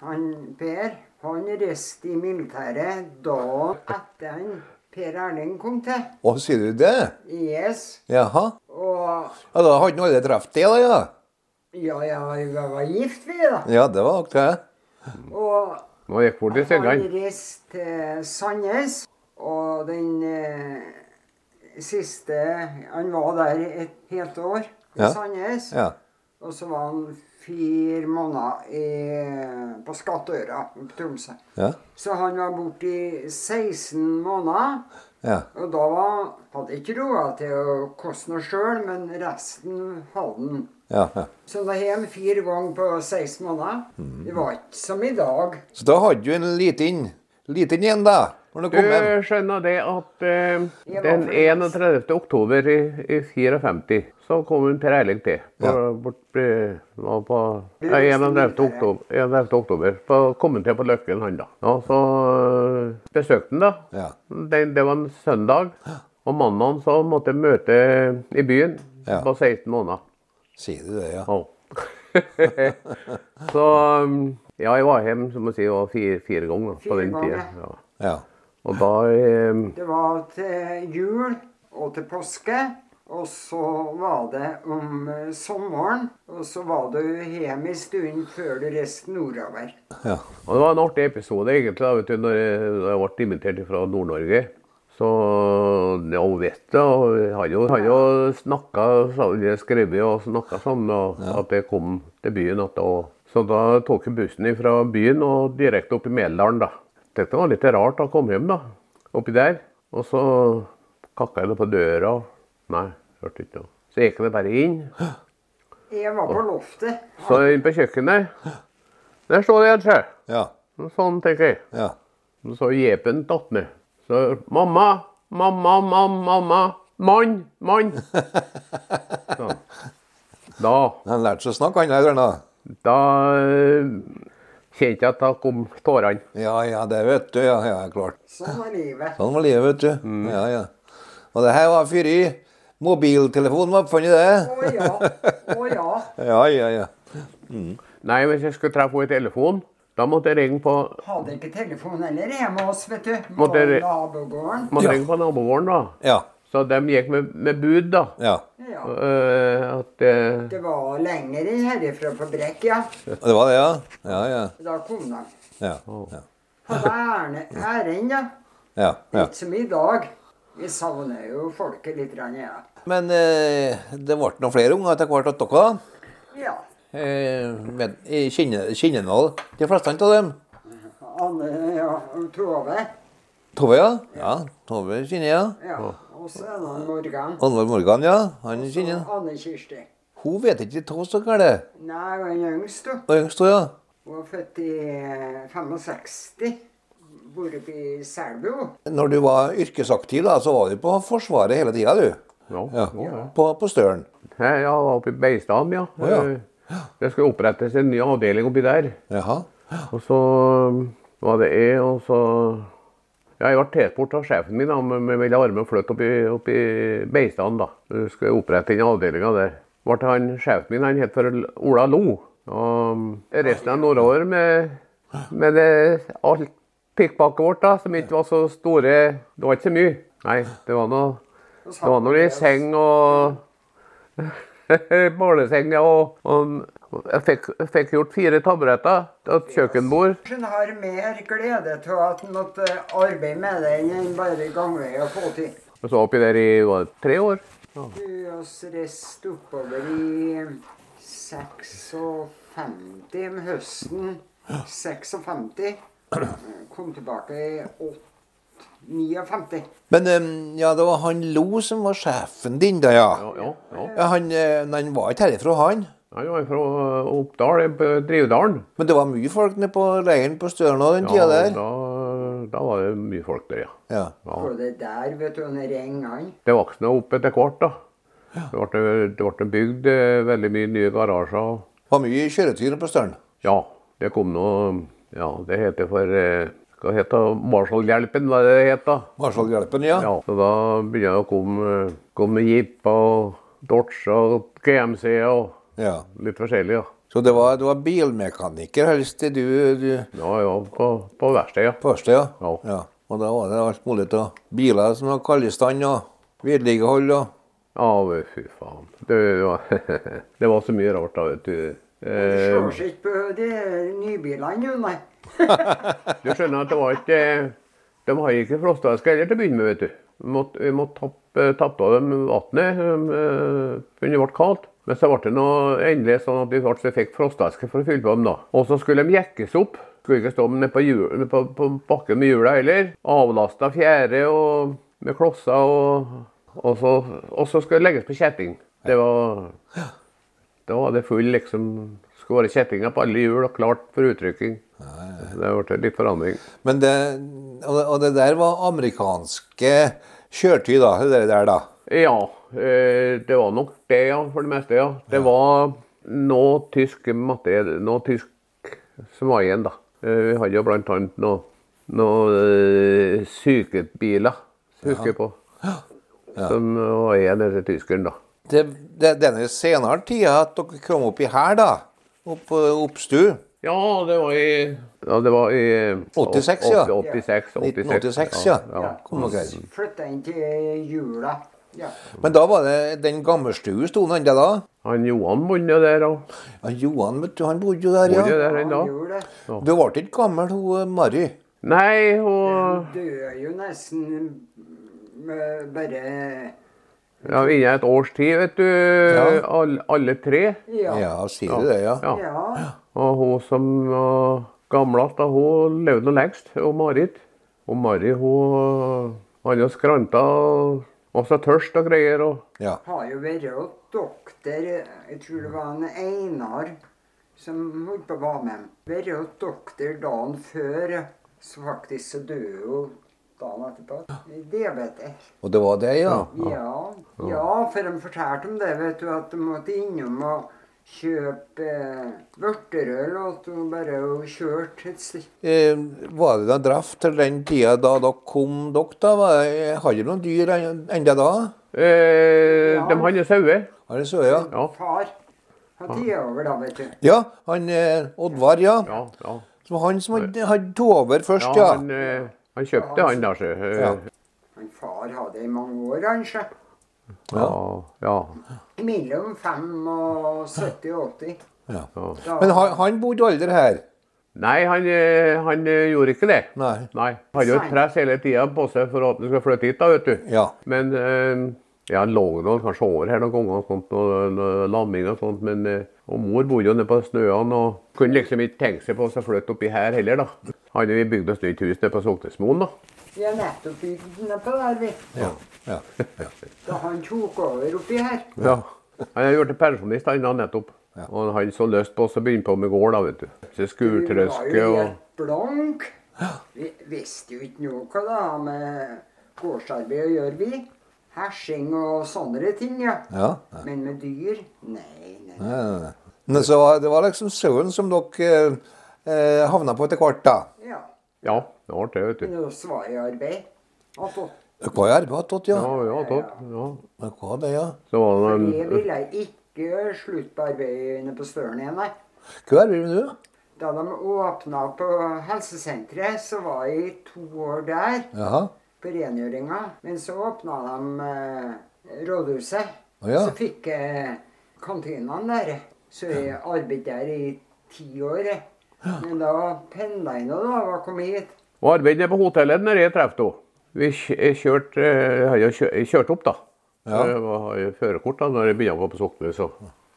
han Per, han reiste i militæret da etter han Per Erling kom til. Å, sier du det? Yes. Jaha. Og Ja, da hadde han aldri truffet det, da, ja. ja, ja, vi var gift vi, da. Ja, det var nok det. Og Nå gikk bort i han Sørland. reiste til Sandnes, og den eh, siste Han var der et helt år i Ja. Sandnes. Ja. Og så var han fire måneder i, på Skattøra oppe i Tromsø. Ja. Så han var borte i 16 måneder. Ja. Og da var, hadde jeg ikke råd til å koste noe sjøl, men resten hadde han. ja, ja. Så da hjem fire ganger på 16 måneder. Mhm. Det var ikke som i dag. Så da hadde du en liten liten igjen, da, når du Du kom hjem. Eh, skjønner det at eh, Jeg var den fornøyd. 31. oktober i, i 54 så kom hun Per Eiling til. På, Ja. bort, eh, nå på, Det nei, visste 31. ikke jeg. oktober, 31. oktober så kom hun til på Løkken, han da. Ja, så eh, besøkte han, da. Ja. Det, det var en søndag. Og mandagen så måtte jeg møte i byen Ja. på 16 måneder. Sier du det, ja. Ja. så um, ja, jeg var hjemme som jeg sier, var fire, fire ganger da, på Fire den tida. ganger. Ja. Ja. Og da um, Det var til jul og til påske. Og så var det om eh, sommeren. Og så var du hjemme en stund før du reiste nordover. ja. Og det var en artig episode, egentlig, da, vet du, når jeg, da jeg ble invitert fra Nord-Norge. Så ja, hun vet det, og vi har jo, har jo snakka sammen, skrevet og snakka sammen, og at jeg kom til byen. At, og, så da tok jeg bussen fra byen og direkte opp i Meldalen, da. Tenkte det var litt rart å komme hjem, da. Oppi der. Og så kakka jeg det på døra. Nei, hørte ikke noe. Så gikk jeg bare inn. Jeg var på loftet. Så inn på kjøkkenet. Der står det en sjø. Ja. Sånn, tenker jeg. Ja. Og Så jepen datt ned. Så mamma, mamma, mamma, mamma. Mann, mann. Sånn. Da, Han lærte seg å snakke, han der. da. da eh, kjente jeg at da kom tårene. Ja, ja, det vet du. Ja, ja, klart. Sånn var livet. Sånn var livet, vet du. Ja, ja. Og det her var før i mobiltelefonen var oppfunnet, Å det. ja. Å ja. Ja, ja, ja. Nei, hvis jeg skulle treffe henne i telefon, da måtte jeg ringe på, Hadde ikke telefon heller hjemme hos oss, vet du. På Måtte dere- nabogården. måtte Ja. ringe på nabogården, da. Ja. Så de gikk med, med bud, da. ja. Ja. Eh, at eh, Det var lenger herifra på Brekk, ja. Og Det var det, ja? Ja, ja. Da kom de. Ja. Ja. Hadde ærend, ærend, ja. ja. ja. Ikke som i dag. Vi savner jo folket litt, grann, ja. Men eh, det ble noen flere unger etter hvert av dere? da. ja. Eh, men, I Kinne- Kinnenål, de fleste av dem? Anne ja, og Tove. Tove, ja? Ja, Tove Kinne, ja. Ja. Og så er det han Morgan. Anvald Morgan, ja. Han Kinne. Og Anne Kirsti. Hun vet ikke hva som er det. Nei, hun er yngst, hun. Og yngst, hun, ja. Hun er født i eh, 65. Bor oppe i Selbu. hun. Når du var yrkesaktiv, da, så var du på Forsvaret hele tida, du. ja. Ja. ja. På, på Støren. Jeg ja, var oppe i Beistam, ja. Å, ja. Eh, Det skulle opprettes en ny avdeling oppi der. Jaha. Og så var det jeg, og så Ja, jeg ble tatt bort av sjefen min, da, men men ville armen flytte opp i, opp i Beistan, da. Jeg skulle opprette den avdelinga der. Ble han, sjefen min han het for Ola Lo. Og eh, resten av nordover med, med det, alt pikkpakket vårt, da, som ikke var så store Det var ikke så mye. Nei, det var noe Og så det var nå i seng og Båleseng, ja. Og, og jeg, fikk, jeg fikk gjort fire taburetter og et kjøkkenbord. Han har mer glede av at han måtte arbeide med det enn han bare gangvei og få til. Og så oppi der i var det tre år. Du oss reiste oppover i 56 om høsten. 56. Kom tilbake i åt- 59. Men em, ja, det var han Lo som var sjefen din, da, ja. Ja, ja, ja. ja han, eh, men han var ikke herifra, han. Han var fra Oppdal, eh, på Drivdalen. Men det var mye folk nede på leiren på Støren òg den tida Ja, der. da, da var det mye folk der, ja. Ja. Og det der, vet du, han ringene. Det voksne opp etter hvert, da. Det ble, det ble bygd eh, veldig mye nye garasjer. og Det var mye kjøretur på Støren. Ja, det kom noe Ja, det heter for eh, Hva het det? Marshallhjelpen, hva det het da? Marshallhjelpen, ja. Ja, så da begynner det å komme, komme jeeper og Dodge og GMC og ja. litt forskjellig. Ja. Så det var, du var bilmekaniker helst til du, du Ja, ja, på, på verkstedet, ja. på verkstedet? Ja. Ja. ja. Og da var det alt mulig av biler som var kallestand og vedlikehold og Ja, men fy faen. Det var, det var så mye rart, da, vet du. Det Eh, slår seg ikke på de nybilene, jo, nei. Du skjønner at det var ikke De har ikke frostaske heller til å begynne med, vet du. Vi måtte, vi måtte tappe, tappe av dem vannet eh, for det ble kaldt. Men så ble det noe endelig sånn at vi faktisk fikk frostaske for å fylle på dem. da. Og så skulle de jekkes opp. Skulle ikke stå nede på, hjul- på, på bakken med hjula heller. Avlasta fjære og med klosser. Og, og, så, og så skulle det legges på kjetting. Det var da var det full liksom Skulle være kjettinger på alle hjul og klart for utrykking. Det ble litt forandring. Men det, og, det- og det der var amerikanske kjøretøy, da. Det der, da. Ja, eh, det var nok det, ja, for det meste. ja. Det var noe tysk materiell, noe tysk som var igjen, da. Eh, Vi hadde jo blant annet noe, noe eh, sykebiler, husker jeg på, som var igjen etter tyskeren, da. Det, det, denne senere tida at dere kom opp i her, da. Opp på Oppstu. Ja, det var i ja, det var i 86, ja. 86, 1986, ja. ja. Kom dere her. Mm. Flytta inn til jula. Ja. Men da var det den gammelstue sto han ennå da? Han Johan bodde jo der òg. Ja, Johan vet du, han bodde jo der, Bodde jo ja. der Han ennå. gjorde det. Du ble ikke gammel, hun eh, Mari. Nei, hun Døde jo nesten med bare ja, Innen et års tid, vet du. Alle, alle tre. Ja. Ja, sier du det, ja. Ja. ja. Og hun som var gamlest, da, hun levde nå lengst. Og Marit. Og Mari hun hadde skranta og var så tørst og greier. og... ja. Har jo vært hos doktor Jeg tror det var en Einar som holdt på å være med. Vært hos doktor dagen før, så faktisk så døde hun dagen etterpå. Diabetes. Og det var det, ja. Ja, ja, for de fortalte om det, vet du, at de måtte innom og kjøpe eh, vørterøl, og at hun bare kjørte et stykke. Eh, var det noe draft til den tida da dere kom, dere da? Var det, hadde dere noen dyr en- enda da? Eh, Ja. De hadde sauer. Har det så, ja. Ja. Far har tid over, da, vet du. Ja, han eh, Oddvar, ja. Ja, ja. Det var han som hadde, hadde tog over først, ja ja. han, eh, han kjøpte, han, da. sjø. Eh, Ja. Men far hadde i mange år, kanskje. Ja. ja, Mellom 75 og 80. ja. ja. Da, Men han, han bodde aldri her. Nei, han, eh, han eh, gjorde ikke det. Nei. Nei. Han hadde jo et press hele tida på seg for at han skulle flytte hit, da, vet du. Ja. Men eh, ja, han lå nå kanskje over her noen ganger, og sånt, og, og lamming og sånt, men eh, og mor bodde jo nede på Snøan og kunne liksom ikke tenke seg på å flytte oppi her heller, da. Han vi bygde oss nytt hus nede på Soknesmoen, da. vi har nettopp bygd den oppe der, vi. Ja. ja. ja. Da han tok over oppi her. Han hadde blitt pensjonist han da nettopp. Og han så lyst på oss å begynne på med gård, da, vet du. Så Vi var Skurtrøske jo og helt blank. Vi visste jo ikke noe hva det har med gårdsarbeid å gjøre, vi. Hersing og sånne ting, ja. ja. Men med dyr? Nei, nei. Nei, nei. Men så var- det var liksom sauen som dere eh, havna på etter hvert, da. Ja. Ja, det var det, vet du. Men også var jeg i arbeid. Og fått- Dere var i arbeid igjen, Ja, ja. ja, tatt. Ja. Dere var det, ja. Så var det For en- det ville jeg ikke gjøre slutt på arbeidet inne på Støren igjen, nei. Hva er det nå? Da de åpna på helsesenteret, så var jeg i to år der Jaha. på rengjøringa. Men så åpna de eh, rådhuset. Å ja. Så fikk jeg kantinene der. Så jeg arbeidet der i ti år. jeg. Men da pendla jeg nå, da. Var kommet hit. Og arbeidet på hotellet når jeg traff henne. Vi kj- kjørte eh, jeg kjø- jeg kjørte opp, da. Ja. Jeg var- har jo førerkort da når jeg begynte å gå på Soknes. Så.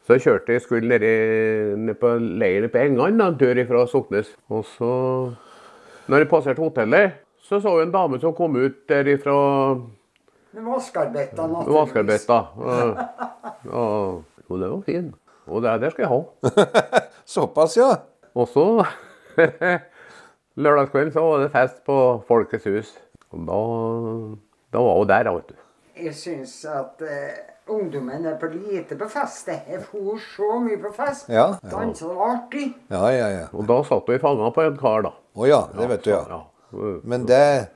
så jeg kjørte jeg skulle ned, ned på leiren på Engan, da, en tur fra Soknes. Og så, når jeg passerte hotellet, så så jeg en dame som kom ut der fra Men vaskearbeidene vaskearbeidet. Og, og, og det var fin. Og det der skal jeg ha. Såpass, ja. Og så lørdagskvelden så var det fest på Folkets hus. Og da, da var hun der, da, vet du. Jeg syns at eh, ungdommen er for lite på fest. jeg. Jeg for så mye på fest. Ja. Dansa det var artig. Ja, ja, ja. Og da satt hun i fanga på en kar, da. Å ja, det vet du, ja. Ja. Men det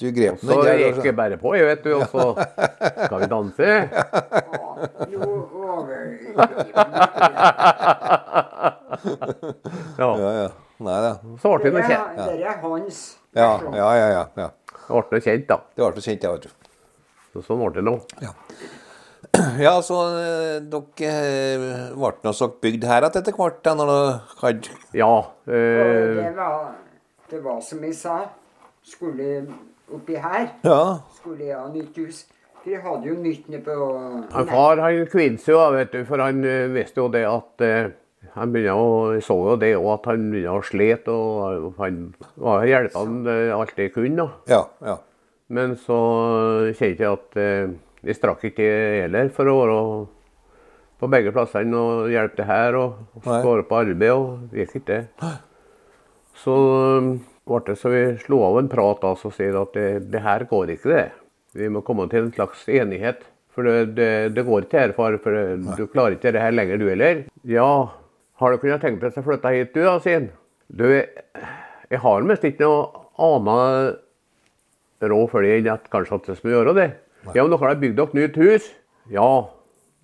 Du grep Så den der. gikk altså. jeg bare på, jeg, vet du. Og så skal vi danse. Ja, Jo, over Ja. Ja, ja. Nei da. Så ble det Dere noe kjent. dere er hans. Ja, ja, ja. ja, ja. Det ble noe kjent, da. Det ble så kjent, jeg, vet du. Så sånn ble det nå. Ja, så eh, dere eh, ble nå så bygd her at etter hvert, da, når dere hadde Ja. Og Eh, det var, det var som jeg sa. Skulle oppi her, Ja. skulle jeg ha nytt hus. For jeg hadde jo nytt nede på han far han kvidde seg, da, vet du, for han eh, visste jo det at eh, han begynte å, jeg så jo det òg, at han begynte å slite. Og han, og han hjelpa han eh, alt det kunne. da. Ja. ja. Men så kjente jeg at eh, jeg strakk ikke til heller for å være på begge plassene og hjelpe til her og Nei. være på arbeid. og det gikk ikke. Så eh, ble det så vi slo av en prat da, så sier jeg at det, det her går ikke, det. Vi må komme til en slags enighet. For det, det, det går ikke her, far, for det, du klarer ikke det her lenger, du heller. Ja, har du kunnet tenkt deg å flytte hit, du da, sier han. Du, jeg har mest ikke noe annet råd for det enn at kanskje at jeg skulle gjøre det. Ja, men dere har bygd dere nytt hus? Ja,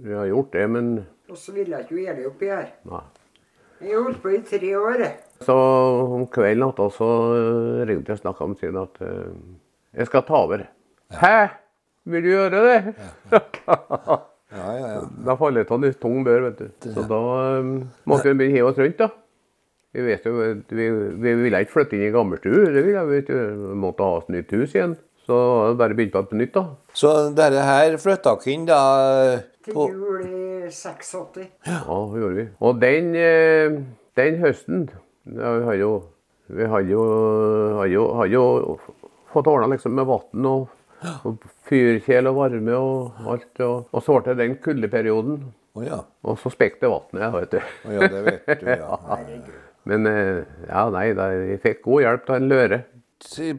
vi har gjort det, men Og så ville jeg ikke gjøre det oppi her. nei. Jeg holdt på i tre år. jeg. Så om kvelden at da, så eh, ringte jeg og snakka med siden at eh, jeg skal ta over. Hæ? Vil du gjøre det? ja, ja, ja. da faller jeg av en tung bør, vet du. Så da eh, måtte vi begynne å hive oss rundt, da. Vi, vet jo, vi, vi ville ikke flytte inn i gammelstue, det ville vi ikke. Vi måtte ha oss nytt hus igjen. Så da bare begynte på på nytt, da. Så dette her flytta dere inn da eh, Til på jul i 86. Ja, det gjorde vi. Og den, eh, den høsten ja, Vi hadde jo, vi hadde jo, hadde jo, hadde jo fått ordna liksom med vann og, og fyrkjel og varme og alt. Og, og så ble det den kuldeperioden. Å ja. Og så spekk det vannet, vet du. Å ja, det vet du, ja. Men eh, ja, nei, da, jeg fikk god hjelp av en løre.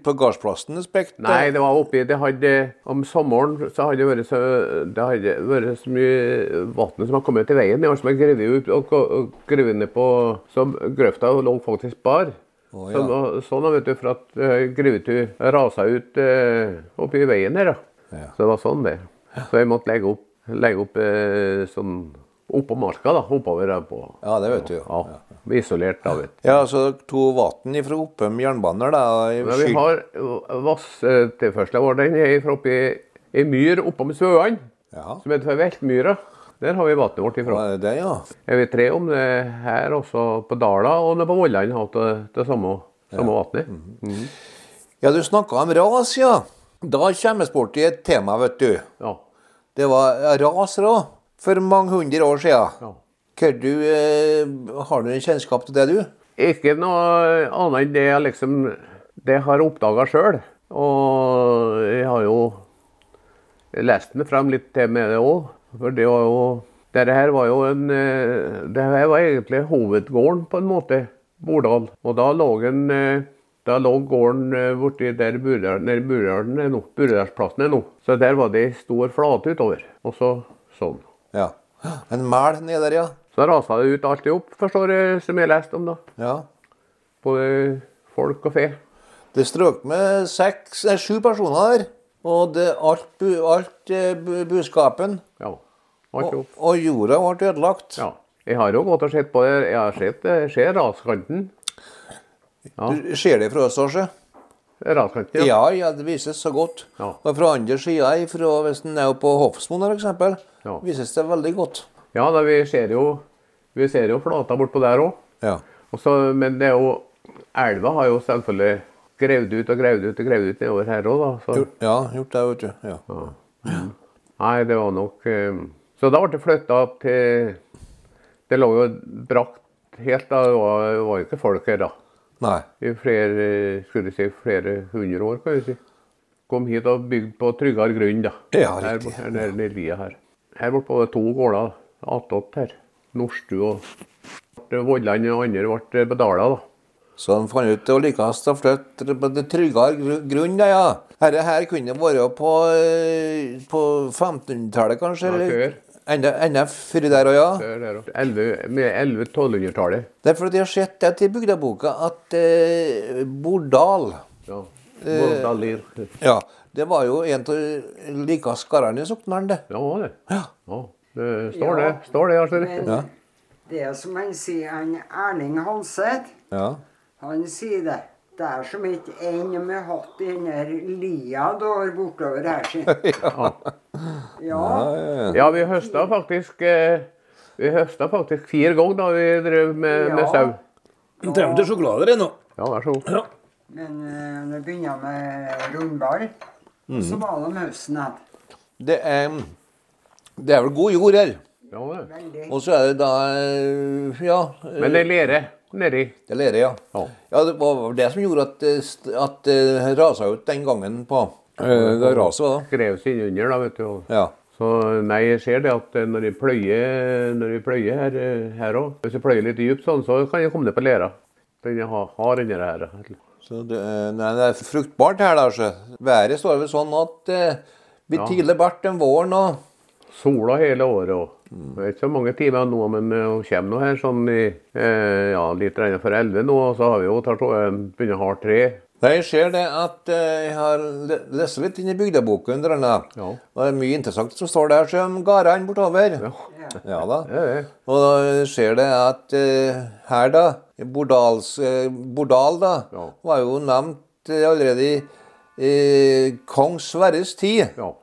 På gardsplassen spekt? da? Nei, det var oppi det hadde, Om sommeren så hadde det vært så, det hadde vært så mye vann som hadde kommet til veien. Det var som jeg grev ut og, og grev ned på Så grøfta lå faktisk bar. Å, ja. Sånn, og- sånn, vet du, for at uh, gruvetu rasa ut eh, oppi veien her, da. Ja. Så det var sånn det. Så jeg måtte legge opp, legge opp eh, sånn oppå marka, da. Oppover der på. Ja, det vet du, ja. Ja, Isolert, da, vet du. Ja, så dere tok vann fra Oppheim jernbaner, da? i Men vi skyld- har eh, vasstilførselen vår den er fra oppi ei myr oppom Svøan, Ja. som heter for Veltmyra. Der har vi vannet vårt ifra. Var det det, ja? Jeg vet tre om det her også på Dala og nede på Vollan har vi det, det samme, samme vannet. Ja, du snakka om ras, ja. Da kommer vi bort i et tema, vet du. Ja. Det var ras da, for mange hundre år siden. Ja. Hva du, eh, har du en kjennskap til det, du? Ikke noe annet enn det jeg liksom Det jeg har oppdaga sjøl. Og jeg har jo lest meg frem litt til med det òg. For det var jo Dette her var jo en eh, Det her var egentlig hovedgården, på en måte. Bordal. Og da lå en eh, da lå gården eh, borti der Burdalen er nå. Burdalsplassen er nå. Så der var det ei stor flate utover. Og så sånn. Ja. En mæl nede der, ja. Så rasa det ut alt i hop, forstår jeg, som jeg leste om, da. ja. Både folk og fe. Det strøk med seks, nei, sju personer der. Og det, alt, bu, alt eh, bu, buskapen. Ja. Alt Og, opp. og jorda ble ødelagt. Ja. Jeg har jo gått og sett på det. Jeg har sett det. Jeg ser raskanten. Ja. Du ser det fra Øståsjø? Raskanten, ja. Ja, ja, det vises så godt. Ja. Og fra andre sida, fra, hvis en er på Hofsmoen f.eks., Ja. vises det veldig godt. Ja, da, vi ser jo, vi ser jo flata bortpå der òg. Ja. Men det er jo Elva har jo selvfølgelig gravd ut og gravd ut og gravd ut nedover her òg, da. Så. Gjort- Ja, gjort det, vet du. Ja. Nei, det var nok eh, Så da ble det flytta til Det lå jo brakt helt da. Det var, det var jo ikke folk her da. Nei. i flere, skulle jeg si, flere hundre år, kan vi si. Kom hit og bygde på tryggere grunn, da. Ja, her, riktig. Her nede nede i lia her. Her borte var det to gårder attåt her. Norstu og Vollan og andre ble bedala, da. Så han fant ut det var likest å flytte på det tryggere gru- grunn, da, ja. Dette her kunne vært på, eh, på 1500-tallet, kanskje? Ja, eller før. Enda, enda før der òg, ja. Der, der, også. 11 med 11-1200-tallet. Det er fordi jeg har sett det i bygdeboka at eh, Bordal Ja. Vårdalin. Ja, det var jo en av like skarrene i Soknaren, det. Ja, var det. Ja. Ja, det står Ja, det. Står det, Arthur. Men Ja. det er som han sier, han Erling Hanseth, ja. han sier det. Det er som ikke en med hatt i den der lia du har bortover her, sier Ja. Ja, vi høsta faktisk eh, vi høsta faktisk fire ganger da vi drev med, med Ja. sau. Du trenger ikke sjokolade det nå. Ja, vær så god. Ja. Men eh, når jeg begynner med rundball, så Mhm. var det høsten her. Det er, det er vel god jord her. Ja, det. Veldig. Og så er det da eh, Ja. eh, Men det er lere nedi. Det er lere, ja. Ja. Ja, Det var vel det som gjorde at, eh, st- at det rasa ut den gangen på eh, Det raset, da. Skrev seg innunder, da, vet du. og- Ja. Så nei, jeg ser det at eh, når jeg pløyer, når jeg pløyer her, eh, her òg Hvis jeg pløyer litt dypt sånn, så kan jeg komme ned på lera. Den jeg har, har inni her. Så det, eh, nei, det er fruktbart her, da. Så. Været står vel sånn at det blir Ja. tidlig bart den våren og Sola hele året òg. Det er ikke så mange timer nå, men eh, hun kommer nå her sånn i eh, ja, litt regnet for elleve nå. Og så har vi jo tatt, eh, begynner å ha tre. Nei, Jeg ser det at eh, jeg har le- lest litt inn i bygdeboken. der, da. Ja. Og det er mye interessant som står der, som gardene bortover. Ja. da. Det er det. Og da ser det at eh, her, da Bordals, eh, Bordal, da, Ja. var jo nevnt eh, allerede i eh, kong Sverres tid. Ja.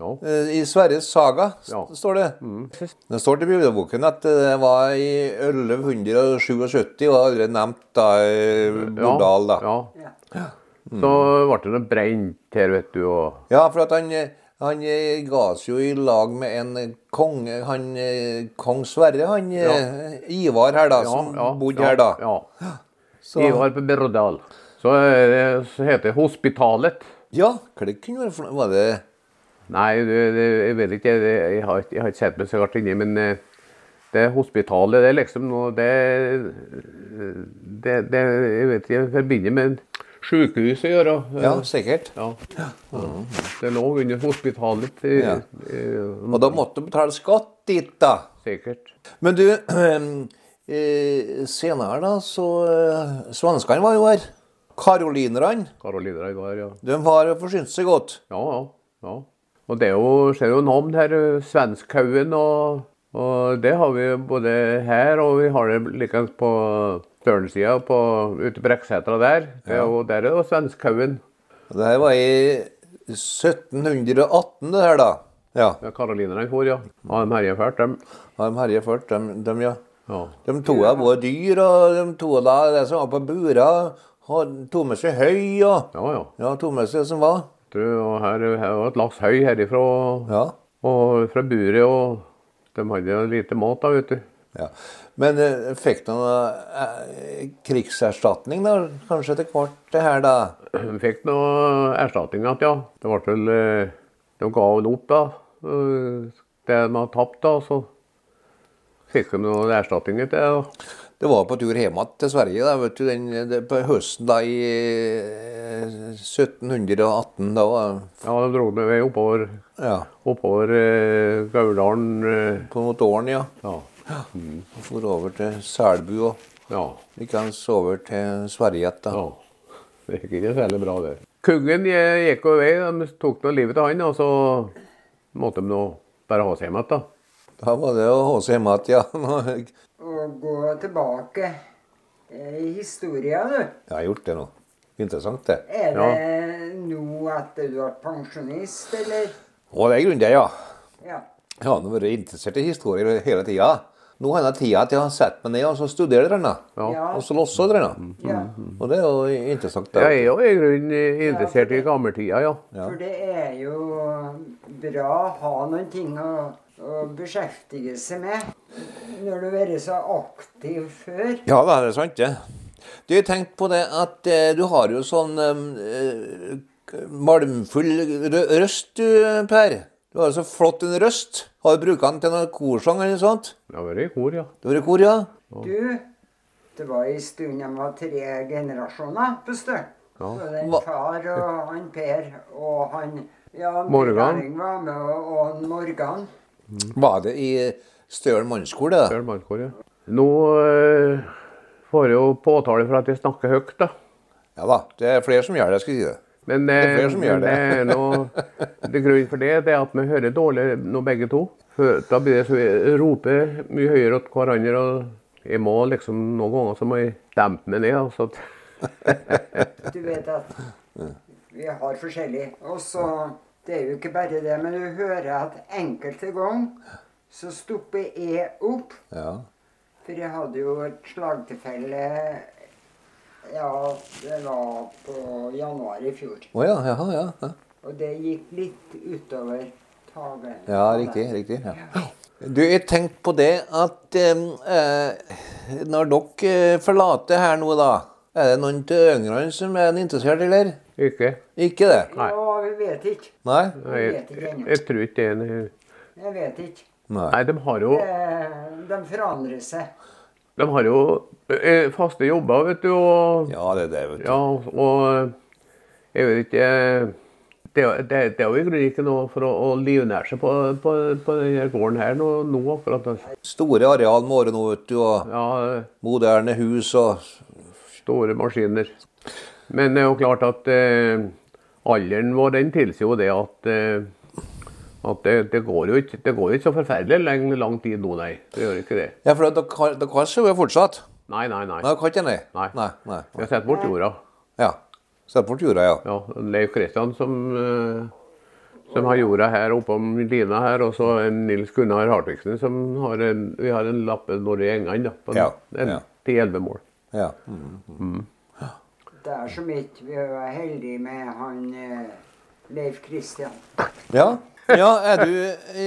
ja. eh, I Sverres saga s- Ja. Mm. står det. Det står til bygdeboken at eh, det var i 1177 og allerede nevnt da eh, Bordal, da. Ja. Ja. Så ble det noe brent her, vet du. Og Ja, for at han, eh, han eh, ga seg jo i lag med en eh, konge, han, eh, kong Sverre, han eh, Ivar her da, som bodde ja, her da. Ja. Så, Ivar på Berrodal. Så, eh, så heter det Hospitalet. ja, hva det kunne være for noe? Var det Nei, du, det, jeg vet ikke. Jeg, jeg, har, ikke- jeg har ikke sett meg så hardt inni, men eh, det hospitalet, det er liksom noe Det, det, det Jeg vet ikke, jeg forbinder med sjukehuset å gjøre. Ja, sikkert. Ja. Det lå under hospitalet. eh, Ja. eh, Og da måtte du betale skatt dit da. Sikkert. Men du, eh, senere da, så eh, Svenskene var jo her. Karolinerne, Karoline Reivar, ja. de har jo forsynt seg godt. Ja, ja. ja. Og det er jo, ser jo navn her, eh, Svenskhaugen, og, og det har vi jo både her, og vi har det likeens på Størensida, på, ute på Brekksætra der. Det er jo, der er det jo Svenskhaugen. Og Det her var i 1718 det her da. Ja, Det er Karolinerne for, ja. Ja, de herjer fælt, dem. har de herjefart, de, de ja. Ja. De tok av både dyr og de tok av da det som var på bura. Og tok med seg høy og Ja, ja. Ja, tok med seg det som var. Du, og her her er jo et lass høy herifra, og, Ja. og fra buret, og de hadde jo lite mat da, vet du. ja. Men eh, fikk de noe eh, krigserstatning da, kanskje etter hvert, det her da? De fikk noe erstatning igjen, ja. Det ble vel eh, De ga vel opp, da. eh, Det de hadde tapt, da. Så fikk de noe erstatning til det. da. Det var på tur hjem igjen til Sverige da, vet du, den, det, på høsten da i eh, 1718. da var Ja, de dro med vei oppover, Ja. oppover eh, Gauldalen. Eh, På mot åren, ja. ja. Og for over til Selbu og ja. likeens over til Sverige igjen, da. Ja. Det gikk ikke særlig bra, det. Kongen eh, gikk jo vei. De tok nå livet av han, og så måtte de nå bare ha seg hjem igjen, da. Da var det å ha seg hjemme igjen, ja. Å gå tilbake eh, i historia, du. Jeg har gjort det nå. Interessant, det. Er Ja. det nå etter du ble pensjonist, eller? Og det er grunnen til det, ja. Ja. Jeg har nå vært interessert i historier hele tida. Nå har jeg tida til å sette meg ned og så studere den. da. Ja. Mm. Og så losse den. da. Mm. ja. Mhm. Og det er jo interessant. det. Jeg er jo i grunnen eh, interessert i gammeltida, ja. For det er jo bra å ha noen ting å, å beskjeftige seg med når du har vært så aktiv før. Ja da, det er sant, det. Du, jeg tenkte på det at eh, du har jo sånn eh, eh, malmfull rø røst, du, Per. Du har jo så flott en røst. Har du brukt den til noen korsang eller noe sånt? Det har vært i kor, ja. Du har vært i kor, ja? Du, det var en stund de var tre generasjoner på Stø. Både en Hva- far og han Per og han ja, Per Morgan. Erling var med, og, og han Morgan. Var det i eh, Stølen mannskole, da? Bjørn Malmkår, ja. Nå eh, får jeg jo påtale for at jeg snakker høyt, da. Ja da, det er flere som gjør det, jeg skal si det. Men Det er flere eh, som gjør men det er noe det grunnen for det, det er at vi hører dårlig nå begge to. For da blir det så vi roper mye høyere til hverandre. og jeg må liksom Noen ganger så må jeg dempe meg ned. Altså. Du vet at vi har forskjellig. Og så Det er jo ikke bare det, men du hører at enkelte ganger så stopper jeg opp. Ja. For jeg hadde jo et slagtilfelle Ja, det var på januar i fjor. Å ja, jaha, ja, ja. Og det gikk litt utover tagen. Ja, riktig. riktig ja. Du, jeg tenkte på det at em, eh, når dere eh, forlater her nå, da Er det noen til yngre som er interessert, eller? Ikke? Ikke det? Nei. Ja, vi vet ikke. Nei? Nei, Jeg, jeg, jeg tror ikke det. er en- Jeg vet ikke. Nei. Nei, de har jo Eh, De forandrer seg. De har jo eh, faste jobber, vet du, og Ja, det er det, vet du. Ja, og eh, jeg vet ikke Det, det, det er jo i grunnen ikke noe for å, å livnære seg på, på, på denne gården her nå, nå akkurat. altså. Store areal med åre nå, vet du, og Ja, moderne hus og store maskiner. Men det er jo klart at eh, alderen vår den tilsier jo det at eh, at det, det, går jo ikke, det går jo ikke så forferdelig lang, lang tid nå, nei. Det gjør ikke det. Ja, for dere har- dere har sauer fortsatt? Nei, nei, nei. Nei, dere har ikke det? Nei. Nei, nei. Vi har sett bort jorda. Ja. Sett bort jorda, ja. Ja, Leif Kristian som, eh, som har jorda her oppom lina her, og så en Nils Gunnar Hartvigsen som har en, vi har en lappe nord i engene da, på en, Ja, ja. en 10-11 mål. ja. Mm. Det er som ikke vi var heldige med han eh, Leif Kristian. Ja. ja, er du eh,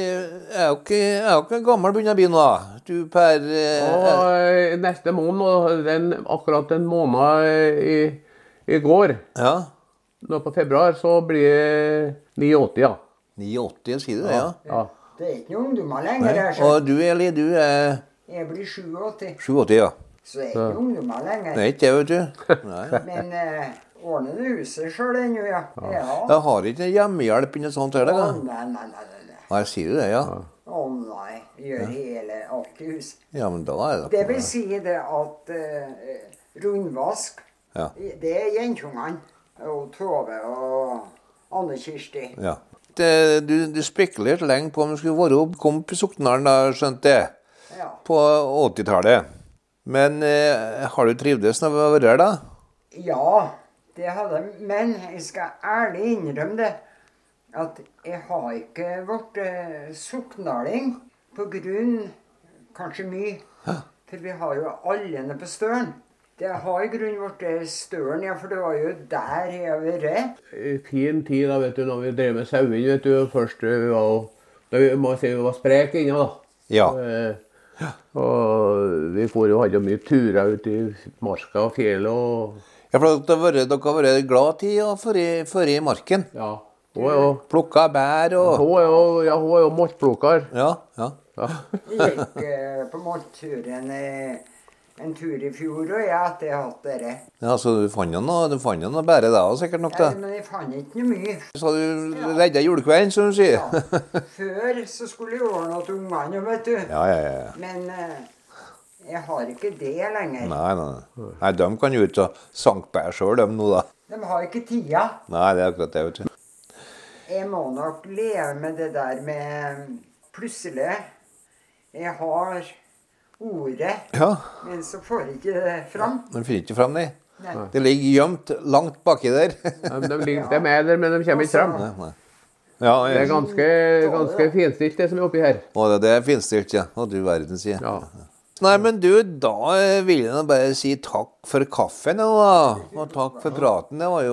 Er jo ikke, er jo ikke gammel begynner å bli nå, da? Du, Per eh, Og er- eh, neste måned, og den, akkurat en måned eh, i, i går, Ja. nå på februar, så blir det 89, ja. 89, sier du det? Ja. ja. Det er ikke noen ungdommer lenger. her, så Og du, Eli, du er Jeg blir 87, 87, ja. så det er ikke noen ungdommer lenger. Det er ikke det, vet du. Nei. Men eh, ordner du huset sjøl ennå, ja? Ja. Jeg har ikke hjemmehjelp eller sånt Å heller. da. nei, nei, nei, nei, nei. Nei, sier du det, ja? Å nei. Gjør hele alt i huset. Ja, men da er Det det vil si det at eh, rundvask, Ja. det er jentungene. Og Tove og Anne Kirsti. Ja. Det, du, du spekulerte lenge på om du skulle være opp, kom på Soknaren, da, skjønte jeg. Ja. På 80-tallet. Men eh, har du trivdes når du har vært her, da? Ja, det hadde Men jeg skal ærlig innrømme det. At jeg har ikke vært eh, soknaling på grunn Kanskje mye. For vi har jo allene på Støren. Det har i grunnen blitt Støren, ja, for det var jo der jeg har vært. I Fin tid da, vet du, når vi drev med sauen, vet du, og først eh, vi var, da vi må si vi var sprek inne da. Ja. Eh, Og vi for jo, hadde jo mye turer ute i marka og fjellet og Ja, for dere har vært, dere har vært glad til å føre i marken. Ja. Hun er jo, Plukka bær og hun er jo, ja, hun er jo moltplukker. Ja. ja. Ja. Gikk eh, på målturen eh, en tur i fjor, og jeg etter jeg hatt dere. ja så du fant jo noe, du fant jo noe bære da også, sikkert nok, Ja, da. men jeg fant ikke noe mye. Så du redda julekvelden, som du sier. Ja. Før så skulle jeg ordne til ungene, vet du. Ja, ja, ja. Men eh, jeg har ikke det lenger. Nei, nei, nei. nei de kan jo ut og sanke bær sjøl, de nå, da. De har ikke tida. Nei, det er akkurat det, vet du. Jeg må nok leve med det der med mm, plutselig Jeg har ordet, Ja, men så får jeg ikke det fram. de finner ikke fram, de. Nei. Det ligger gjemt langt baki der. De, de, ligger- de er der, men de kommer ikke Nei, fram. nei. Ja, Det er ja. ganske, ganske finstilt, det som er oppi her. Og det, det er finstilt, ja. Å, du verden, sier jeg. Ja. Nei, men du, da eh, vil jeg nå bare si takk for kaffen, og, og takk for praten. Det var jo